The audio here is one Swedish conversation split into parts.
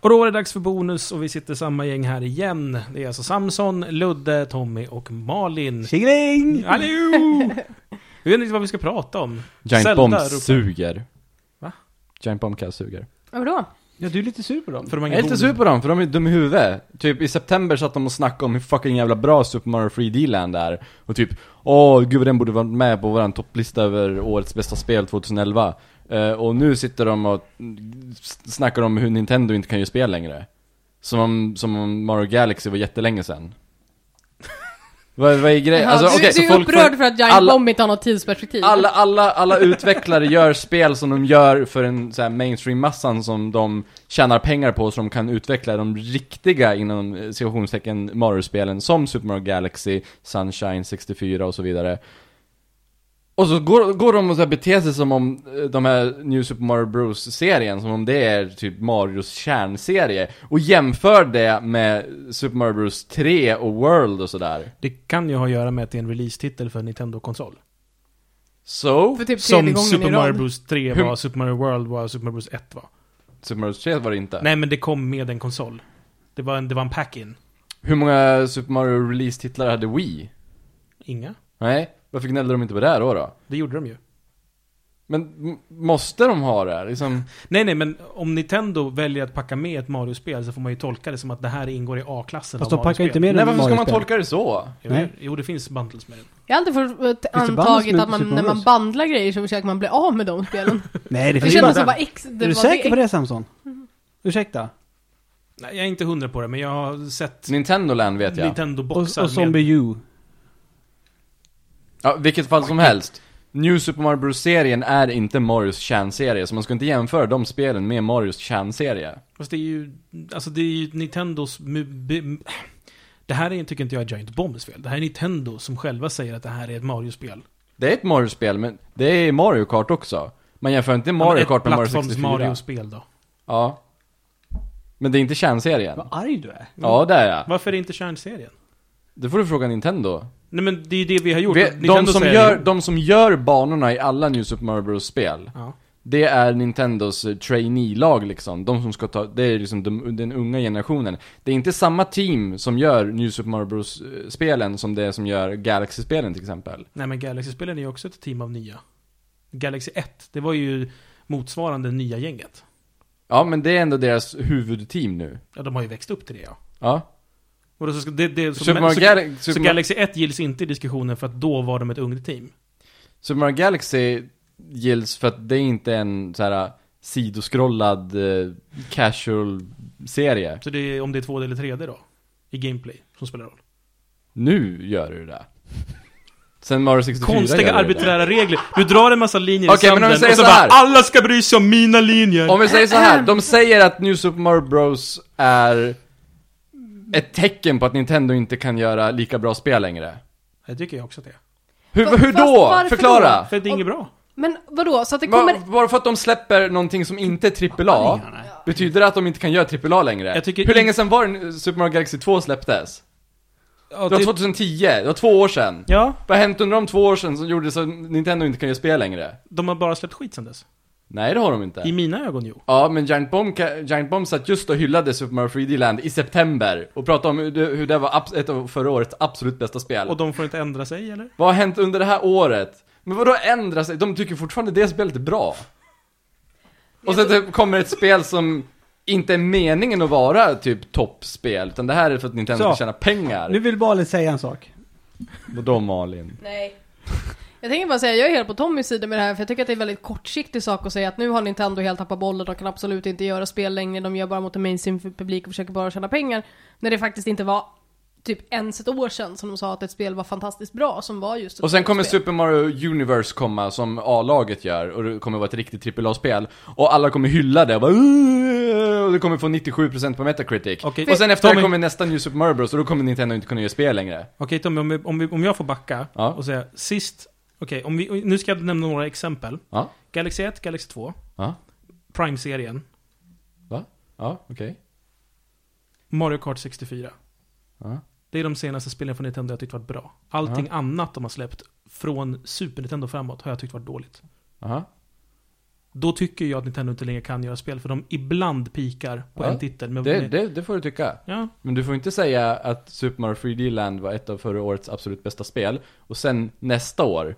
Och då var det dags för bonus och vi sitter samma gäng här igen. Det är alltså Samson, Ludde, Tommy och Malin. Tjingeling! Hallå! Vi vet inte vad vi ska prata om. Zelda Giant Bomb ropar- suger. Va? Giant Bomb Cast suger. Vadå? Ja, du är lite sur på dem. För de har Jag ingen är lite bonus. sur på dem, för de är dumma i huvudet. Typ i september satt de och snackade om hur fucking jävla bra Super Mario 3D-land är. Och typ, åh gud vad den borde varit med på våran topplista över årets bästa spel 2011. Eh, och nu sitter de och mm, s- snackar om hur Nintendo inte kan göra spel längre. Som om, som om Mario Galaxy var jättelänge sedan. vad, vad är grejen? Jaha, Alltså, du, okej, så du är folk får- upprörd för att Giant alla- Bomb inte har något tidsperspektiv. alla, alla, alla utvecklare gör spel som de gör för en så här, mainstream-massan som de tjänar pengar på så de kan utveckla de riktiga inom eh, citationstecken Mario-spelen som Super Mario Galaxy, Sunshine 64 och så vidare. Och så går, går de och så här beter sig som om eh, de här New Super Mario Bros-serien, som om det är typ Marios kärnserie. Och jämför det med Super Mario Bros 3 och World och sådär. Det kan ju ha att göra med att det är en release-titel för en Nintendo-konsol. So, För typ tredje Som gången Super i Mario rad. Bros 3 Hur- var, Super Mario World var, Super Mario Bros 1 var. Super Mario 3 var det inte. Nej men det kom med en konsol. Det var en, det var en pack-in. Hur många Super Mario Release-titlar hade Wii? Inga. Nej, varför gnällde de inte på det här då? då? Det gjorde de ju. Men m- måste de ha det? Liksom, Nej nej men om Nintendo väljer att packa med ett Mario-spel så får man ju tolka det som att det här ingår i A-klassen Fast av de packar Mario-spel. inte med nej, den varför ska man Mario-spel. tolka det så? Jo, Nej. jo det finns bundles med den. Jag har alltid fått eh, band som antagit inte att man, Super när man Mario? bandlar grejer så försöker man bli av med de spelen. Nej, det Det finns ju bara... kändes som bara ex... Det är var du säker det. på det Samson? Mhm. Ursäkta? Nej jag är inte hundra på det men jag har sett Nintendo Land vet jag. Och, Nintendo-boxar och Zombie U. Ja, vilket fall som helst. New Super Mario Bros-serien är inte Marios kärnserie, så man ska inte jämföra de spelen med Marios kärnserie. Fast det är ju, alltså det är ju Nintendos... mu- be- Det här är, tycker inte jag är Giant Bombs fel. Det här är Nintendo som själva säger att det här är ett Mario-spel. Det är ett Mario-spel, men det är Mario Kart också. Man jämför inte Mario Kart med Mario 64. Mario-spel då. Ja. Men det är inte kärnserien. Vad arg du är. Ja, det är jag. Varför är det inte kärnserien? Det får du fråga Nintendo. Nej men det är ju det vi har gjort. Vet, de, Nintendo som säger- gör, de som gör banorna i alla New Super Mario Bros spel, Ja. det är Nintendos eh, trainee-lag liksom. De som ska ta, det är liksom de, den unga generationen. Det är inte samma team som gör New Super Mario Bros eh, spelen som det som gör Galaxy-spelen till exempel. Nej men Galaxy-spelen är ju också ett team av nya. Galaxy 1, det var ju motsvarande nya gänget. Ja, men det är ändå deras huvudteam nu. Ja, de har ju växt upp till det ja. Ja. Och då så ska, det, det, så, Super men- Mario, så, Gal- så, Super, Mar- Galaxy 1 gills inte i diskussionen för att då var de ett ungt team. Super Mario Galaxy gills för att det är inte en så här eh, sidoskrollad eh, casual-serie. Så det är, om det är 2D eller 3D då? I gameplay, som spelar roll. Nu gör du det. Sen Mario 64 Konstiga gör du det. arbiträra regler. Du drar en massa linjer i Okej, men sanden om vi och säger så så bara här. alla ska bry sig om mina linjer. Om vi säger så här, de säger att New Super Mario Bros är ett tecken på att Nintendo inte kan göra lika bra spel längre. Det tycker jag också att det är. Hur, Fast- hur fast då? varför Förklara! För det är inget bra. Men vadå, så att det Var, kommer... bara för att de släpper någonting som inte är AAA, betyder det att de inte kan göra AAA längre? Jag tycker hur inte- länge sedan var det Super Mario Galaxy 2 släpptes? Ja, typ- Det var 2010, det var två år sedan. ja, Vad har hänt under de två år sedan som gjorde så att Nintendo inte kan göra spel längre? de har bara släppt skit sen dess. Nej, det har de inte. I mina ögon, jo. Ja, men Giant Bomb, Giant Bomb satt just och hyllade Super Mario 3D Land i september och pratade om hur det, hur det var abs- ett av förra årets absolut bästa spel. Och de får inte ändra sig, eller? Vad har hänt under det här året? Men vadå ändra sig? De tycker fortfarande det spelet är bra. Och sen typ kommer ett spel som inte är meningen att vara typ toppspel, utan det här är för att Nintendo Så. ska tjäna pengar. Nu vill Malin säga en sak. Vadå Malin? Nej. Jag tänker bara säga, jag är helt på Tommys sida med det här, för jag tycker att det är en väldigt kortsiktig sak att säga att nu har Nintendo helt tappat bollen, de kan absolut inte göra spel längre, de gör bara mot en mainstream publik och försöker bara tjäna pengar. När det faktiskt inte var typ ens ett år sedan som de sa att ett spel var fantastiskt bra, som var just ett Och sen kommer spel. Super Mario Universe komma som A-laget gör och det kommer vara ett riktigt AAA-spel och alla kommer hylla det och, bara, "Åh!" och det kommer få 97% på Metacritic. Okej. Och sen efter det Tommy- kommer nästa New Super Mario Bros och då kommer Nintendo inte kunna göra spel längre. Okej Tommy, om, vi- om, vi- om jag får backa Ja. och säga sist... Okej, om vi- nu ska jag nämna några exempel. Ja. Galaxy 1, Galaxy 2, Ja. Prime-serien, Va? Ja, okej. Mario Kart 64. Ja. Det är de senaste spelen från Nintendo jag tyckt varit bra. Allting annat de har släppt från Super Nintendo framåt har jag tyckt varit dåligt. Aha. Då tycker jag att Nintendo inte längre kan göra spel, för de ibland pikar på Ja, en titel. Men, Det, det, det får du tycka. Ja, Men du får inte säga att Super Mario 3D Land var ett av förra årets absolut bästa spel, och sen nästa år,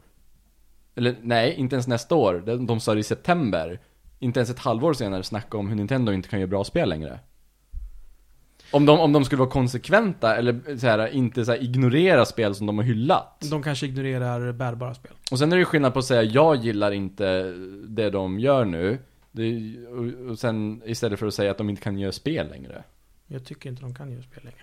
eller nej, inte ens nästa år, de, de sa det i september, inte ens ett halvår senare snacka om hur Nintendo inte kan göra bra spel längre. Om de, om de skulle vara konsekventa, eller så här, inte så här, ignorera spel som de har hyllat. de kanske ignorerar bärbara spel. Och sen är det ju skillnad på att säga jag gillar inte det de gör nu, det, och, och sen istället för att säga att de inte kan göra spel längre. Jag tycker inte de kan göra spel längre.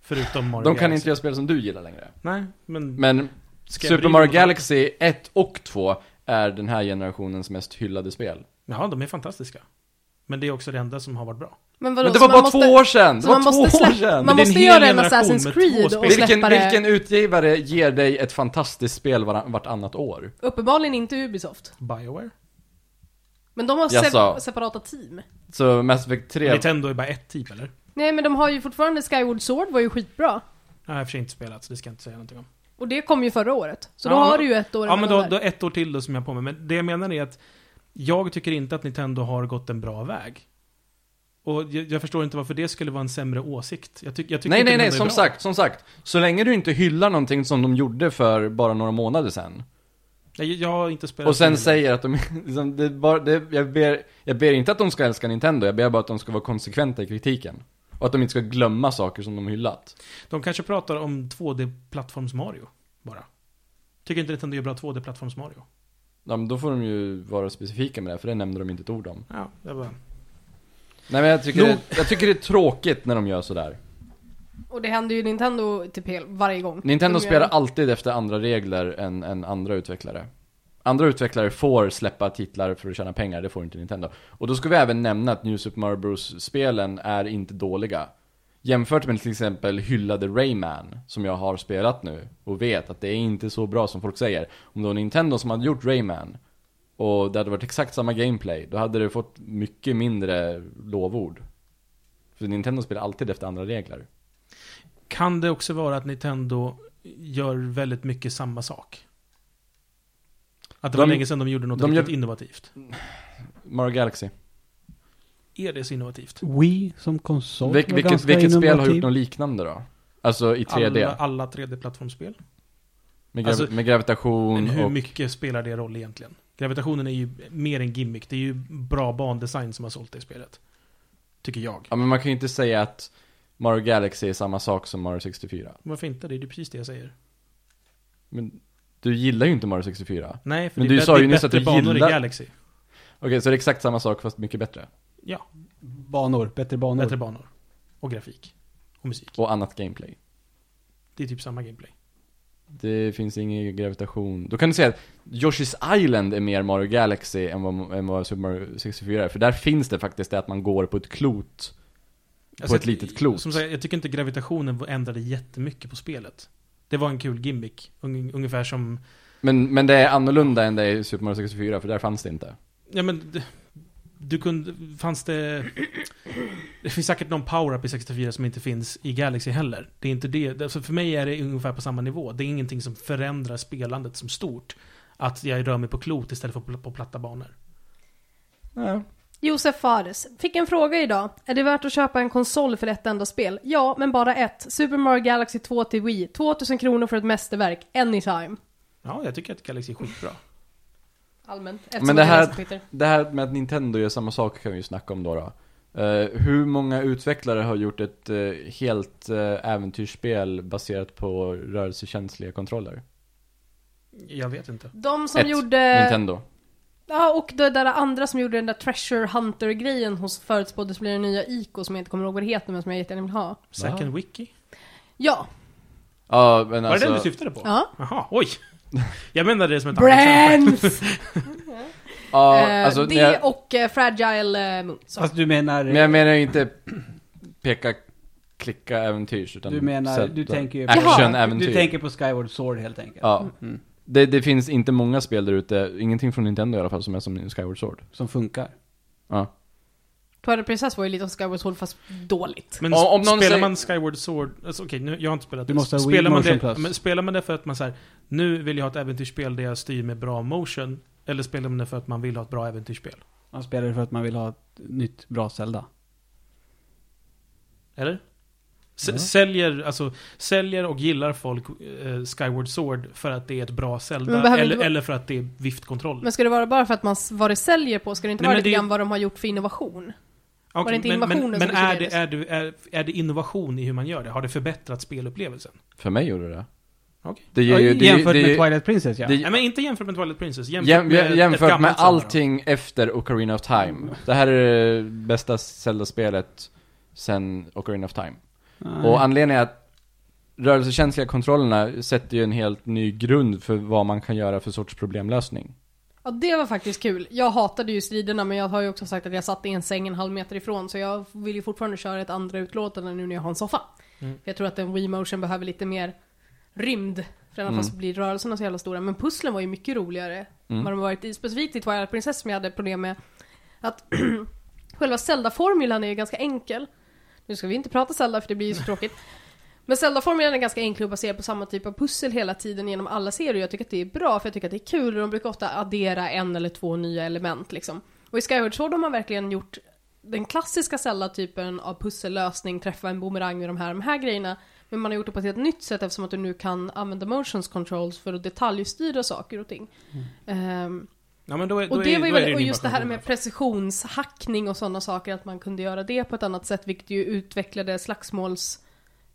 Förutom Mario De kan Galaxy. inte göra spel som du gillar längre. Nej, men... Men Ska jag Super bry Mario mig? Galaxy 1 och 2 är den här generationens mest hyllade spel. Ja, de är fantastiska. Men det är också det enda som har varit bra. Men vadå, Men det var så man bara måste- två år sedan! Det så var man två måste år slä- sedan! Men Man det är en måste hel göra en generation Assassin's med Creed två och spel. släppa Vilken, det. vilken utgivare ger dig ett fantastiskt spel varann, vartannat år? Uppenbarligen inte Ubisoft. Bioware. Men de har Jag se- sa- separata team. Så Mass Effect 3, Nintendo är bara ett typ, eller? Nej men de har ju fortfarande Skyward Sword var ju skitbra. Jag har i och för sig inte spelat, så det ska jag inte säga någonting om. Och det kom ju förra året. Så då Ja, har men- du ju ett år Ja, men emellan då, där. då ett år till då som jag har på mig. Men det jag menar är att jag tycker inte att Nintendo har gått en bra väg. Och jag, jag förstår inte varför det skulle vara en sämre åsikt. Jag, tyck, jag tycker Nej, inte nej, nej, Nintendo är som bra. sagt, som sagt. Så länge du inte hyllar någonting som de gjorde för bara några månader sedan. Jag, jag har inte spelat... Och sen det. säger att de, liksom, det är bara, det, jag, ber, jag ber inte att de ska älska Nintendo, jag ber bara att de ska vara konsekventa i kritiken. Och att de inte ska glömma saker som de hyllat. De kanske pratar om 2D-plattforms Mario, bara. Tycker inte Nintendo gör bra 2D-plattforms Mario. Ja, men då får de ju vara specifika med det, för det nämnde de inte ett ord om. Ja, det var... Nej men jag tycker, Nog- det, jag tycker det är tråkigt när de gör sådär. Och det händer ju Nintendo typ hel, varje gång. Nintendo De gör- spelar alltid efter andra regler än, än andra utvecklare. Andra utvecklare får släppa titlar för att tjäna pengar, det får inte Nintendo. Och då ska vi även nämna att New Super Mario Bros-spelen är inte dåliga. Jämfört med till exempel hyllade Rayman, som jag har spelat nu, och vet att det är inte så bra som folk säger. Om det var Nintendo som hade gjort Rayman, och det hade varit exakt samma gameplay, då hade det fått mycket mindre lovord. För Nintendo spelar alltid efter andra regler. Kan det också vara att Nintendo gör väldigt mycket samma sak? Att det var De- länge sedan de gjorde något de riktigt gör- innovativt. Mario Galaxy. Är det så innovativt? Wii som konsol Vil- var vilket ganska vilket spel har innovativ. gjort något liknande då? Alltså i 3D? Alla, alla 3D-plattformsspel. med, gravi- alltså- med gravitation Men hur och... mycket spelar det roll egentligen? Gravitationen är ju mer en gimmick. Det är ju bra bandesign som har sålt det i spelet. Tycker jag. Ja men man kan ju inte säga att Mario Galaxy är samma sak som Mario 64. Varför inte? Det är ju precis det jag säger. Men du gillar ju inte Mario 64. Nej, för Men det är du bä- sa det ju är nyss att bättre du banor gillar- i Galaxy. Okej, så det är exakt samma sak fast mycket bättre. Ja, Banor, bättre banor. bättre banor. Och grafik. Och musik. Och annat gameplay. Det är typ samma gameplay. Det finns ingen gravitation. Då kan du säga att Yoshi's Island är mer Mario Galaxy än vad, än vad Super Mario 64 är. För där finns det faktiskt det att man går på ett klot. ett litet klot. Alltså, Som sagt, jag tycker inte gravitationen ändrade jättemycket på spelet. Det var en kul gimmick. Un- Ungefär som... Men, men det är annorlunda än det är i Super Mario 64 för där fanns det inte. Ja men... d- Du kunde... Fanns det... Det finns säkert någon power-up i 64 som inte finns i Galaxy heller. Det är inte det. det- Alltså för mig är det ungefär på samma nivå. Det är ingenting som förändrar spelandet som stort. Att jag rör mig på klot istället för på- på platta banor. Ja. Josef Fares. Fick en fråga idag. Är det värt att köpa en konsol för ett enda spel? Ja, men bara ett. Super Mario Galaxy 2 till Wii. 2000 kronor för ett mästerverk. Anytime. Ja, jag tycker att Galaxy är skitbra. Allmänt. Men eftersom det är här- den som skiter. Det här med att Nintendo gör samma sak kan vi ju snacka om då. då. Eh, hur många utvecklare har gjort ett eh, helt eh, äventyrsspel baserat på rörelsekänsliga kontroller? Jag vet inte. De som Ett, gjorde... Nintendo. Ja, och det där andra som gjorde den där Treasure Hunter-grejen hos förutspåddes bli den nya Ico som jag inte kommer ihåg vad det heter men som jag jättegärna vill ha. Second Wiki? Ja. Ja, Var men det alltså... den du syftade på? Ja. Jaha, oj! Jag menade det som ett exempel. Brands! Ja, Eh, alltså, det när jag, och eh, Fragile eh, Moon. Så. Fast du menar, eh, men jag menar ju inte peka, klicka äventyrs, utan... du menar, sätta- du tänker ju Action-äventyr. Du tänker på Skyward Sword helt enkelt. Ja. Mm. Det, det finns inte många spel där ute, ingenting från Nintendo i alla fall, som är som Skyward Sword. Som funkar. Ja. Twilight Princess var ju lite av Skyward Sword fast dåligt. Men Om- om någon spelar säger- man Skyward Sword, alltså, okej nu, jag har inte spelat Du det. måste ha Wii spelar, man Motion det Plus. men spelar man det för att man så här, nu vill jag ha ett äventyrsspel där jag styr med bra motion, Eller spelar man det för att man vill ha ett bra äventyrsspel? Man spelar det för att man vill ha ett nytt bra Zelda. Eller? S- Ja. Säljer, alltså, säljer och gillar folk eh, Skyward Sword för att det är ett bra Men Zelda behöver eller, inte vara- eller för att det är viftkontroller? Men ska det vara bara för att man, s- vad det säljer på? Ska det inte Nej, vara men lite det- grann vad de har gjort för innovation? Okej, var det inte men, men, innovationen men som är, det, diskuterades? är, det, är, är det innovation i hur man gör det? Har det förbättrat spelupplevelsen? För mig gjorde det Okej. det. Ja, ger ju- det jämfört det med Twilight Princess ja. det- Nej men inte jämfört med Twilight Princess, jämfört, Jäm, med, ett jämfört med gammalt Mm. Zelda då. allting efter Ocarina of Time. Det här är det bästa Zelda-spelet sen Ocarina of Time. Nej. Och anledningen är att rörelsekänsliga kontrollerna sätter ju en helt ny grund för vad man kan göra för sorts problemlösning. Ja, det var faktiskt kul. Jag hatade ju striderna men jag har ju också sagt att jag satt i en säng en halv meter ifrån så jag vill ju fortfarande köra ett andra utlåtande nu när jag har en soffa. Mm. För jag tror att en Wii Motion behöver lite mer rymd. För annars Mm. så blir rörelserna så jävla stora. Men pusslen var ju mycket roligare än Mm. vad de varit i. Specifikt i Twilight Princess som jag hade problem med. Att själva Zelda-formulan är ju ganska enkel. Nu ska vi inte prata Zelda för det blir ju så tråkigt. Men Zelda-formulan är ganska enkel och baserad på samma typ av pussel hela tiden genom alla serier. Jag tycker att det är bra för jag tycker att det är kul och de brukar ofta addera en eller två nya element liksom. Och i Skyward Sword har man verkligen gjort den klassiska Zelda-typen av pussellösning, träffa en boomerang med de här, de här grejerna. Men man har gjort det på ett helt nytt sätt eftersom att du nu kan använda motions controls för att detaljstyra saker och ting. Ehm, Ja, men då är, då och det är, var ju då är väldigt, ju och just det här innovation. med precisionshackning och sådana saker, att man kunde göra det på ett annat sätt, vilket ju utvecklade slagsmåls...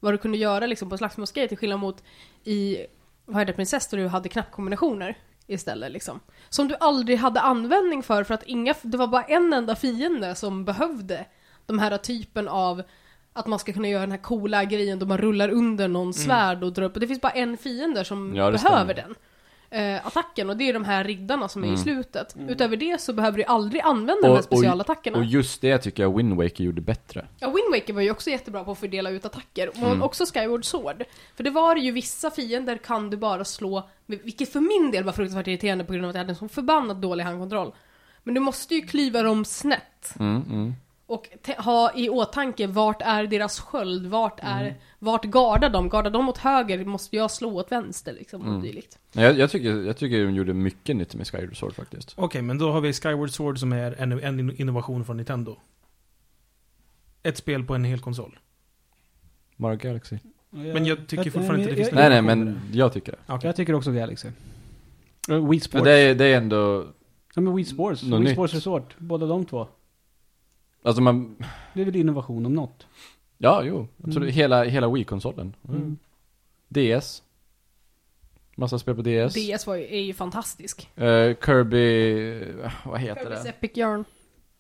Vad du kunde göra liksom på slagsmålsgrejer till skillnad mot i vad är det, Princess där du hade knappkombinationer istället liksom. Som du aldrig hade användning för för att inga, det var bara en enda fiende som behövde de här typen av att man ska kunna göra den här coola grejen då man rullar under Mm. någon svärd och drar upp. Och det finns bara en fiende som Ja, det stämmer. behöver den eh, attacken och det är de här riddarna som är i Mm. slutet. Utöver det så behöver du aldrig använda de Och- här och- specialattackerna. Och just det tycker jag Wind Waker gjorde bättre. Ja, Wind Waker var ju också jättebra på att fördela ut attacker. Och Mm. också Skyward Sword. För det var ju vissa fiender kan du bara slå, med, vilket för min del var fruktansvärt irriterande på grund av att jag hade en sån förbannat dålig handkontroll. Men du måste ju klyva dem snett. Mm, mm. Och te- ha i åtanke, vart är deras sköld? Vart, Mm. är, vart gardar de? Gardar de åt höger måste jag slå åt vänster liksom, och Mm. dylikt. Nej, Jag, jag, tycker, jag tycker de gjorde mycket nytt med Skyward Sword faktiskt. Okej, men då har vi Skyward Sword som är en, en innovation från Nintendo. Ett spel på en hel konsol. Mario Galaxy. Men jag tycker fortfarande inte det finns jag- Nej, nej, men jag tycker det. Okej. Jag tycker också Galaxy. Eh, Wii För Sports. det är, det är ändå, Ja men Wii Sports. Något Wii nytt. Sports Resort. Båda de två. alltså man, Det är väl innovation om något. ja jo, absolut. Mm. Hela, hela Wii-konsolen. Mm. DS. Massa spel på DS. DS var ju, är ju fantastisk. Eh, Kirby, eh, vad heter Kirby's det? Epic Yarn.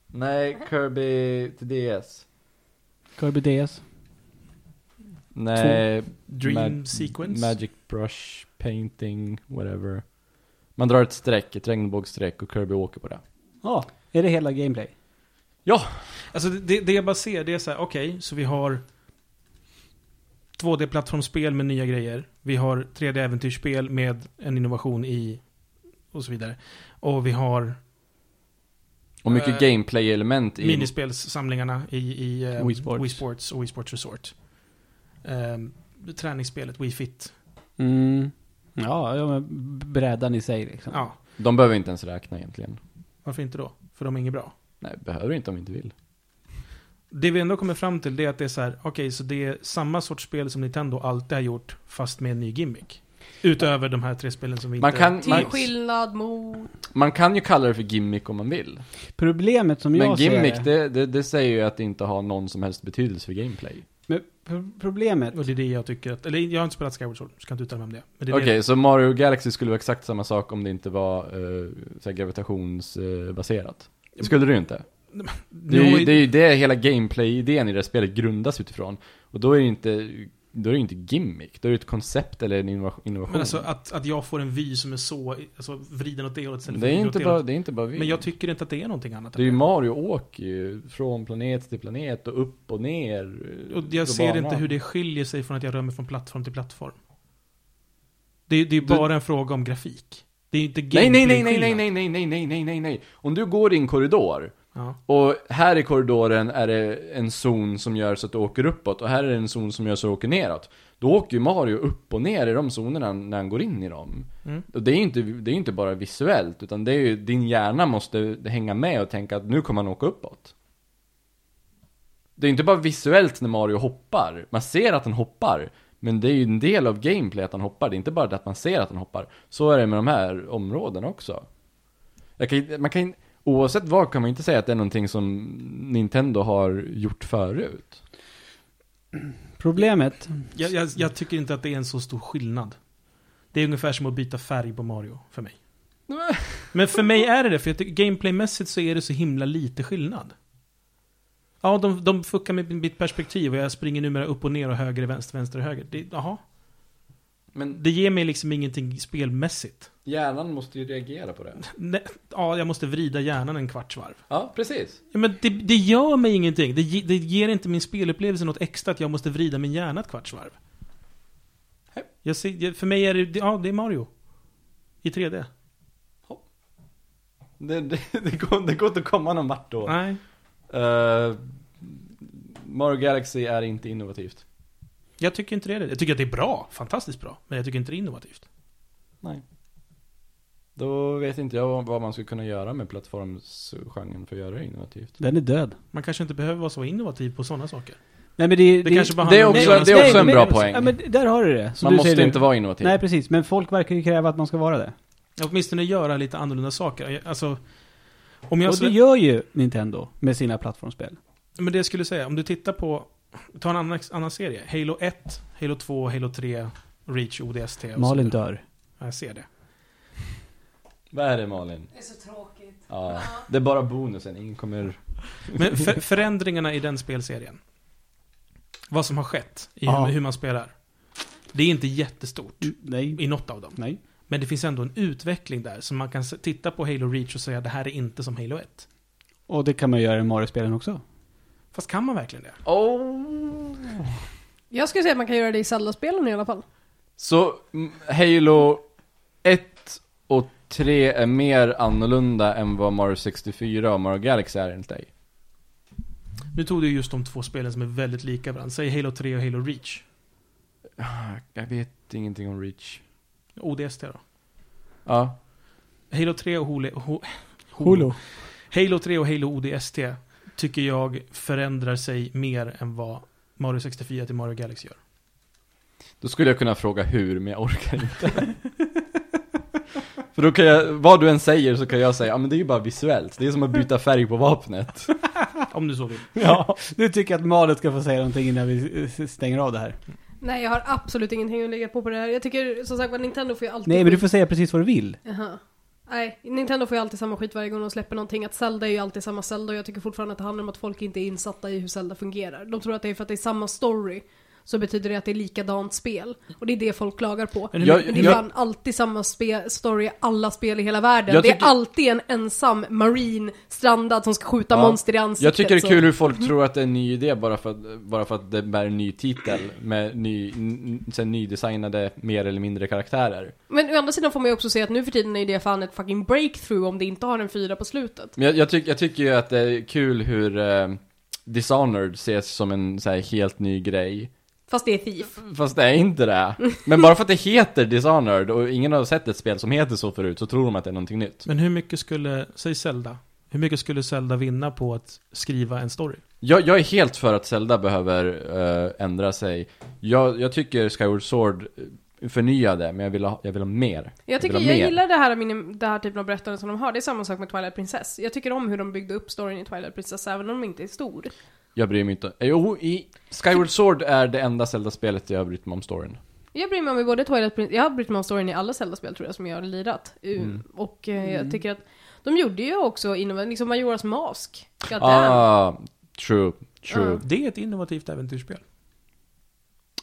Nej, Kirby till DS. Kirby DS. Nej, Dream Mag- Sequence. Magic Brush, Painting, whatever. Man drar ett streck, ett regnbågsstreck och Kirby åker på det. Ja, är det hela gameplay? Alltså det, det jag bara ser, det är så här, okej, så vi har 2D-plattformsspel med nya grejer. Vi har 3D-äventyrsspel med en innovation i och så vidare. Och vi har Och mycket Eh, gameplay-element i... minispelssamlingarna i, i eh, Wii Sports. Wii Sports och Wii Sports Resort. Ehm, träningsspelet Wii Fit. Mm. Ja, ja men b- brädan i sig liksom. Ja, De behöver inte ens räkna egentligen. varför inte då? För de är inget bra. Nej, behöver inte om vi inte vill. Det vi ändå kommer fram till det är att det är så här, okej, så det är samma sorts spel som Nintendo alltid har gjort, fast med en ny gimmick. Utöver de här tre spelen som vi Man inte... kan, Till man, skillnad mot... man kan ju kalla det för gimmick om man vill. Problemet som Men jag ser gimmick, det, det, det säger ju att det inte har någon som helst betydelse för gameplay. Men pro- problemet. Och det är det jag tycker att, eller jag har inte spelat Skyward Sword, så kan inte uttala mig om det. Men det är Okej, det. så Mario Galaxy skulle vara exakt samma sak om det inte var uh, gravitationsbaserat? skulle det ju inte. Det är, ju, det är ju det hela gameplay-idén i det här spelet grundas utifrån. Och då är det ju inte, då är det ju inte gimmick, då är det ett koncept eller en innova- innovation. men alltså att, att jag får en vy som är så, alltså vriden åt det hållet istället det, är vriden åt inte det bara, hållet. det är inte bara vi. Men jag tycker inte att det är någonting annat. det är ju Mario åker ju från planet till planet och upp och ner. eh, och på jag ser inte banan. hur det skiljer sig från att jag rör mig från plattform till plattform. Det, är- det är Du- bara en fråga om grafik. Det är inte Nej, nej, nej, nej, gameplay-skillnad. nej, nej, nej, nej, nej, nej, nej. Om du går i en korridor Ja. Och här i korridoren är det en zon som gör så att du åker uppåt och här är det en zon som gör så att du åker neråt. Då åker ju Mario upp och ner i de zonerna när han går in i dem. Mm. Och det är ju inte, det är ju inte bara visuellt, utan det är ju, din hjärna måste hänga med och tänka att nu kommer han åka uppåt. Det är inte bara visuellt när Mario hoppar, man ser att han hoppar. Men det är ju en del av gameplay att han hoppar, det är inte bara det att man ser att han hoppar. Så är det med de här områdena också. Jag kan, man kan, oavsett vad kan man inte säga att det är någonting som Nintendo har gjort förut. Problemet, Jag, jag, jag tycker inte att det är en så stor skillnad. Det är ungefär som att byta färg på Mario, för mig. Men för mig är det det, för jag tycker gameplaymässigt så är det så himla lite skillnad. Ja, de, de fuckar med mitt perspektiv och jag springer numera upp och ner och höger, vänster, vänster, höger. Det, jaha. Men Det ger mig liksom ingenting spelmässigt. hjärnan måste ju reagera på det. Nej, ja, jag måste vrida hjärnan en kvarts varv. Ja, precis. Ja, men det, det gör mig ingenting. Det, ge- det ger inte min spelupplevelse något extra att jag måste vrida min hjärna ett kvarts varv. Nej. Jag ser, jag- för mig är det, ja, det är Mario. I 3D. Det, det, det, går, det går inte att komma någon vart då. Nej. Eh, Mario Galaxy är inte innovativt. Jag tycker inte det är det. Jag tycker att det är bra. Fantastiskt bra. Men jag tycker inte det är innovativt. Nej. Då vet inte jag vad- vad man skulle kunna göra med plattformsgenren för att göra det innovativt. den är död. Man kanske inte behöver vara så innovativ på sådana saker. Nej, men det, Det kanske bara det är handlar om också- hjärnan. det är också en bra men, poäng. Ja, men där har du det. Som man du måste säger inte vara innovativ. Nej, precis. Men folk verkar ju kräva att man ska vara det. Ja, Åtminstone göra lite annorlunda saker. Jag- Alltså, om jag Och det skulle, gör ju Nintendo med sina plattformsspel. men det jag skulle säga, om du tittar på, ta en annan, annan serie. Halo 1, Halo 2, Halo 3, Reach, ODST. och så Malin vidare. dör. Ja, Jag ser det. Vad är det Malin? Det är så tråkigt. Ja. Det är bara bonusen, ingen kommer... Men för, förändringarna i den spelserien. Vad som har skett i Ja. hur, hur man spelar. Det är inte jättestort Nej. i något av dem. Nej. Men det finns ändå en utveckling där, så man kan se- titta på Halo Reach och säga det här är inte som Halo 1. Och det kan man göra i Mario-spelen också. Fast kan man verkligen det? Oh. Jag skulle säga att man kan göra det i Zelda-spelen i alla fall. Så mm, Halo 1 och 3 är mer annorlunda än vad Mario 64 och Mario Galaxy är enligt dig? Nu tog du ju just de två spelen som är väldigt lika varandra. Säg Halo 3 och Halo Reach. Ah, Jag vet ingenting om Reach. ODST då. Ja. Halo 3 och Hole, ho, Holo. Halo 3 och Halo ODST tycker jag förändrar sig mer än vad Mario 64 till Mario Galaxy gör. Då skulle jag kunna fråga hur, men jag orkar inte. För då kan jag, vad du än säger så kan jag säga, ja ah, men det är ju bara visuellt, det är som att byta färg på vapnet. Om du så vill. Ja. Nu tycker jag att Malin ska få säga någonting innan vi eh, stänger av det här. Nej, jag har absolut ingenting att lägga på på det här. Jag tycker som sagt att Nintendo får ju alltid... Nej, men du får säga precis vad du vill. Jaha. Nej, Nintendo får ju alltid samma skit varje gång de släpper någonting. Att Zelda är ju alltid samma Zelda och jag tycker fortfarande att det handlar om att folk inte är insatta i hur Zelda fungerar. De tror att det är för att det är samma story så betyder det att det är likadant spel. Och det är det folk klagar på. Men Jag, Men det är jag, fan alltid samma spe- story i alla spel i hela världen. Jag det tycker- är alltid en ensam marine strandad som ska skjuta Ja. monster i ansiktet. jag tycker det är så- kul hur folk tror att det är en ny idé bara för att, bara för att det bär en ny titel med ny, n- sen nydesignade mer eller mindre karaktärer. Men å andra sidan får man ju också se att nu för tiden är det fan ett fucking breakthrough om det inte har en fyra på slutet. Men jag, jag, tyck, jag tycker ju att det är kul hur eh, Dishonored ses som en så här, helt ny grej. Fast det är Thief. Fast det är inte det. Men bara för att det heter Dishonored och ingen har sett ett spel som heter så förut så tror de att det är någonting nytt. Men hur mycket skulle, säg Zelda. Hur mycket skulle Zelda vinna på att skriva en story? Jag, jag är helt för att Zelda behöver eh, ändra sig. Jag, jag tycker Skyward Sword eh, förnyade, men jag vill ha, jag vill ha mer. Jag tycker vill ha jag mer. gillar det här, minim- det här typen av berättande som de har. Det är samma sak med Twilight Princess. Jag tycker om hur de byggde upp storyn i Twilight Princess även om den inte är stor. Jag bryr mig inte. Eh, Jo, i Skyward Sword är det enda Zelda-spelet jag har brytt mig om storyn. Jag bryr mig om i både Twilight Princess, jag har brytt mig om storyn i alla Zelda-spel tror jag som jag har lirat. U- Mm. Och eh, jag tycker att de gjorde ju också inom, liksom Majoras Mask. God damn. Ah, true, true. Ja. Det är ett innovativt äventyrsspel.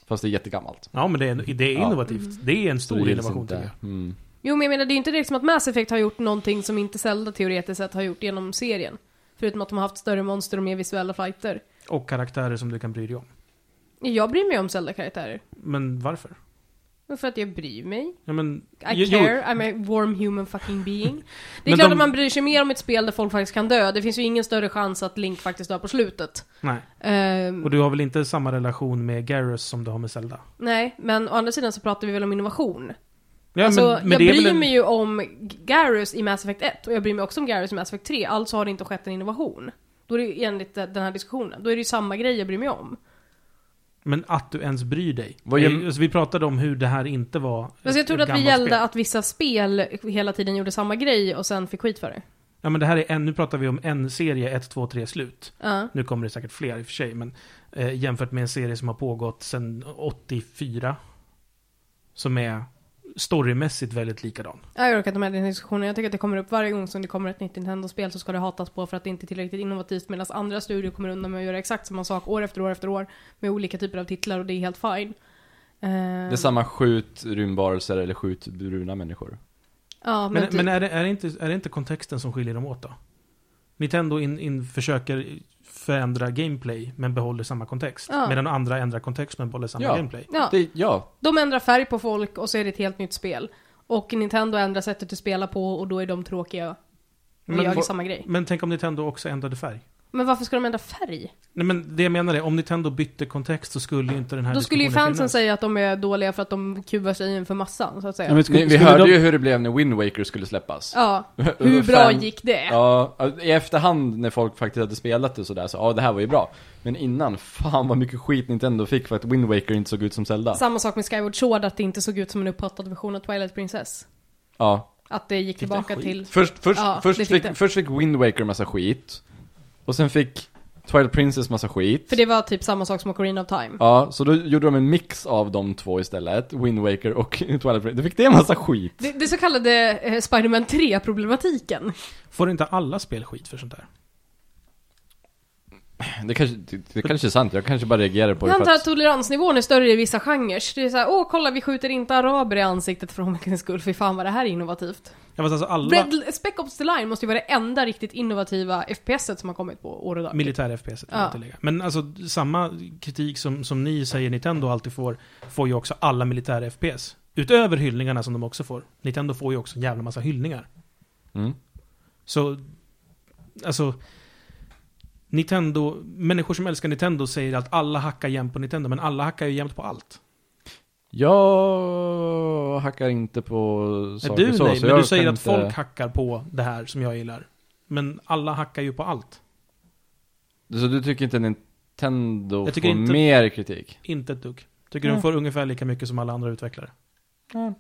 Fast det är jättegammalt. Ja, men det är, det är Ja. innovativt. Det är en Så stor det gills innovation inte. tycker jag. Mm. Jo men jag menar det är ju inte direkt som att Mass Effect har gjort någonting som inte Zelda teoretiskt sett har gjort genom serien. Förutom att de har haft större monster och mer visuella fighter. Och karaktärer som du kan bry dig om. Jag bryr mig om Zelda-karaktärer. Men varför? Men För att jag bryr mig. Ja, men, I jo- care, I'm a warm human fucking being. Det är Men klart de- att man bryr sig mer om ett spel där folk faktiskt kan dö. Det finns ju ingen större chans att Link faktiskt dör på slutet. Nej. Ehm, Och du har väl inte samma relation med Garrus som du har med Zelda? Nej, men å andra sidan så pratar vi väl om innovation. Ja, alltså, jag det är väl bryr en- mig ju om G- Garrus i Mass Effect 1 och jag bryr mig också om Garrus i Mass Effect 3. Alltså har det inte skett en innovation. Då är det ju enligt eh, den här diskussionen, då är det ju samma grej jag bryr mig om. Men att du ens bryr dig. Vad gör- vi, alltså, vi pratade om hur det här inte var Fast Alltså, jag ett trodde att vi gammalt gällde spel. att vissa spel hela tiden gjorde samma grej och sen fick skit för det. Ja, men det här är en, nu pratar vi om en serie, 1, 2, 3, slut. Ja. Nu kommer det säkert fler i och för sig, men eh, jämfört med en serie som har pågått sedan 84. Som är storymässigt väldigt likadan. Jag orkar inte med den här diskussionen. Jag tycker att det kommer upp varje gång som det kommer ett nytt Nintendo-spel så ska det hatas på för att det inte är tillräckligt innovativt medan andra studier kommer undan med att göra exakt samma sak år efter år efter år med olika typer av titlar och det är helt fine. Eh, Det är samma skjut rymdvarelser eller skjut bruna människor. Ja, men, Men, typ. men är, det, är, det inte, är det inte kontexten som skiljer dem åt då? Nintendo in, in försöker förändra gameplay men behåller samma kontext. Ja. Medan andra ändrar kontext men behåller samma Ja. gameplay. ja. Det, ja, De ändrar färg på folk och så är det ett helt nytt spel. Och Nintendo ändrar sättet du spelar på och då är de tråkiga och Men gör vad- samma grej. Men tänk om Nintendo också ändrade färg? Men varför ska de ändra färg? Nej men det jag menar är, om Nintendo bytte kontext så skulle ju inte den här Då skulle ju diskussionen fansen finnas. säga att de är dåliga för att de kuvar sig inför massan, så att säga. Ja, men Ni, skulle- vi skulle hörde de- ju hur det blev när Wind Waker skulle släppas. Ja, hur bra Fan- gick det? Ja, i efterhand när folk faktiskt hade spelat det sådär så, ja det här var ju bra. Men innan, fan vad mycket skit Nintendo fick för att Wind Waker inte såg ut som Zelda. Samma sak med Skyward Sword, att det inte såg ut som en upphottad version av Twilight Princess. Ja. Att det gick tillbaka skit. till... Först, först, Ja, det först, fick fick, det. först fick Wind Waker massa skit. Och sen fick Twilight Princess massa skit. För det var typ samma sak som Ocarina of Time. Ja, så då gjorde de en mix av de två istället. Wind Waker och Twilight Princess. Då fick det en massa skit. Det, det så kallade eh, Spider-Man 3-problematiken. Får inte alla spel skit för sånt där? Det kanske, det, det kanske är sant, jag kanske bara reagerar på Jag det för antar att att... toleransnivån är större i vissa genrer. Det är såhär, åh kolla vi skjuter inte araber i ansiktet för omväxlings skull, fy fan vad det här är innovativt. Ja, fast alltså alla Red, Spec Ops The Line måste ju vara det enda riktigt innovativa FPSet som har kommit på år och dag. militära FPS vill jag Ja. inte lägga. Men alltså samma kritik som, som ni säger Nintendo alltid får, får ju också alla militära FPS. Utöver hyllningarna som de också får. Nintendo får ju också en jävla massa hyllningar. Mm. Så, alltså... Nintendo, människor som älskar Nintendo säger att alla hackar jämt på Nintendo, men alla hackar ju jämt på allt. Jag hackar inte på Är saker du så, nej, så men du jag säger kan att inte- folk hackar på det här som jag gillar. Men alla hackar ju på allt. Så du tycker inte Nintendo Jag får tycker inte- mer kritik? Inte ett dugg. Tycker de Mm. får ungefär lika mycket som alla andra utvecklare. Mm.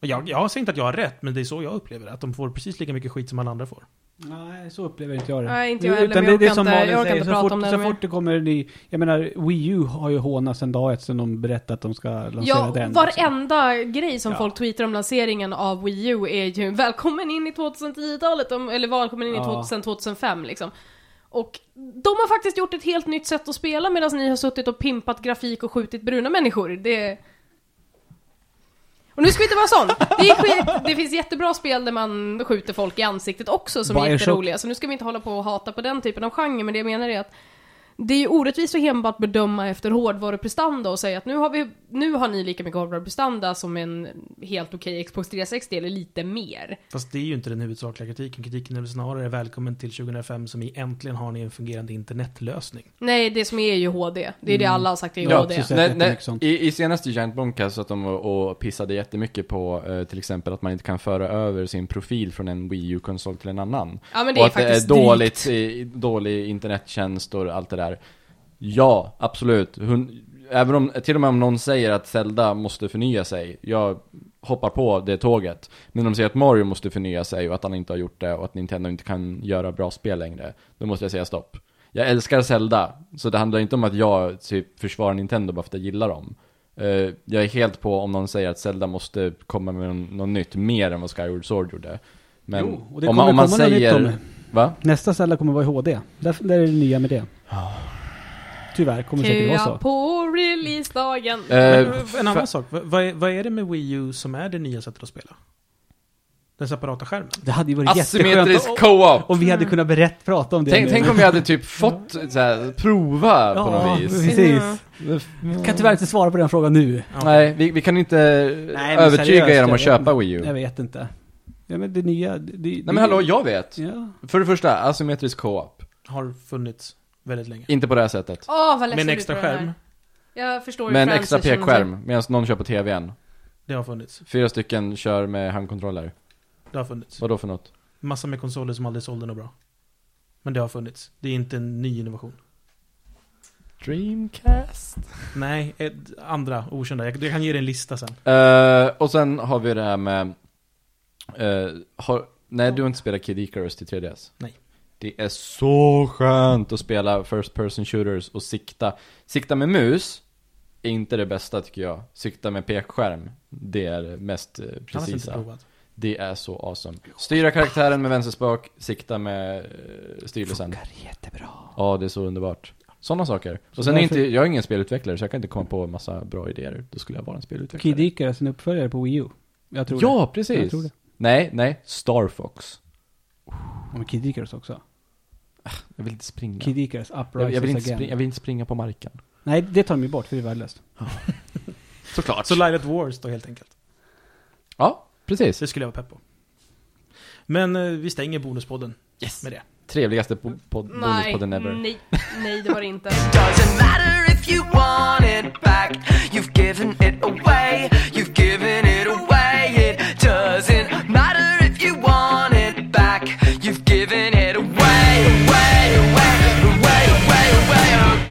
Jag, jag säger inte att jag har rätt, men det är så jag upplever det. Att de får precis lika mycket skit som alla andra får. Nej, så upplever inte jag det. Nej, inte jag Utan heller, men det är jag det orkar som inte- Malin jag orkar säger, inte så prata fort, om det så mer. fort det kommer ny... Jag menar, Wii U har ju hånats en dag ett sedan de berättat att de ska lansera Ja, den. liksom. varenda grej som Ja. folk tweetar om lanseringen av Wii U är ju välkommen in i 2010-talet, om- eller välkommen in i Ja. 2000, 2005 liksom. Och de har faktiskt gjort ett helt nytt sätt att spela medan ni har suttit och pimpat grafik och skjutit bruna människor. Det... Och nu ska vi inte vara sån! Det, är skit... det finns jättebra spel där man skjuter folk i ansiktet också som är Bioshock. jätteroliga, så nu ska vi inte hålla på och hata på den typen av genre, men det jag menar är att det är ju orättvist att enbart bedöma efter hårdvaruprestanda och säga att nu har, vi, nu har ni lika mycket hårdvaruprestanda som en helt okej Xbox 360 eller lite mer. Fast det är ju inte den huvudsakliga kritiken. Kritiken är väl snarare välkommen till 2005 som i äntligen har ni en fungerande internetlösning. Nej, det som är ju HD. Det är Mm. det alla har sagt är Ja, HD. precis. Nej, jättemycket nej, sånt. i, I senaste Giant Bombcast så att de var och pissade jättemycket på eh, till exempel att man inte kan föra över sin profil från en Wii U-konsol till en annan. Ja, men det och är att det är faktiskt dåligt, i, dålig internettjänst och allt det där. Ja, absolut. Hon, även om, till och med om någon säger att Zelda måste förnya sig, jag hoppar på det tåget. Men om de säger att Mario måste förnya sig och att han inte har gjort det och att Nintendo inte kan göra bra spel längre, då måste jag säga stopp. Jag älskar Zelda, så det handlar inte om att jag typ försvarar Nintendo bara för att jag gillar dem. Eh, jag är helt på om någon säger att Zelda måste komma med någon- något nytt mer än vad Skyward Sword gjorde. Men Jo, och det om man, kommer om man komma något nytt om säger... det. Va? Nästa Zelda kommer vara i HD. Där, där är det nya med det. Tyvärr kommer det säkert vara Köa så. på releasedagen. Men, Eh, eh, en fa- annan sak. Vad- Vad är, vad är det med Wii U som är det nya sättet att spela? Den separata skärmen? Det hade ju varit jätteskönt Asymmetrisk om- co-op! om vi hade kunnat berätt, prata om det. Tänk, nu. tänk om vi hade typ fått så här, prova på något vis. precis. Ja. Jag kan tyvärr inte svara på den frågan nu. Ja. Nej, vi, vi kan inte Nej, men övertyga seriöst, er om jag att vet köpa inte. Wii U. Jag vet inte. Ja men det nya... Det, det, Nej men hallå, jag vet. Ja. För det första, asymmetrisk co-op. Har funnits väldigt länge. Inte på det här sättet. Åh, vad Med ledsen en du extra blir på den skärm. här. Jag förstår hur Med en Francis extra känner sig. pekskärm, medan någon kör på TVn. Det har funnits. Fyra stycken kör med handkontroller. Det har funnits. Vadå för något? Massa med konsoler som aldrig sålde något bra. Men det har funnits. Det är inte en ny innovation. Dreamcast. Nej, ett, andra okända. Jag, jag kan ge dig en lista sen. Eh, och sen har vi det här med... eh, har, nej, du har inte spelat Kid Icarus till 3DS? Nej. Det är så skönt att spela First Person Shooters och sikta. Sikta med mus är inte det bästa tycker jag. Sikta med pekskärm, det är det mest eh, Annars har jag inte precisa. provat. Det är så awesome. Styra karaktären med vänsterspak, sikta med uh, styrelsen. jättebra. Ja, det är så underbart. Sådana saker. Och sen är därför- inte, jag är ingen spelutvecklare så jag kan inte komma på en massa bra idéer. Då skulle jag vara en spelutvecklare. Kid Icarus, en uppföljare på Wii U. Jag tror ja, det. precis. Jag tror det. Nej, nej. Star Fox. Ja, men Kid Icarus också. Jag vill inte springa. Kid Icarus, Uprising jag, jag, vill inte Again. springa jag vill inte springa på marken. Nej, det tar de ju bort för det är värdelöst. Såklart. Så Light at Wars då helt enkelt. ja, precis. Det skulle jag vara pepp på. Men eh, vi stänger bonuspodden Yes. med det. Trevligaste po- pod- Nej, bonuspodden ever. nej, nej det var det inte. Doesn't matter if you want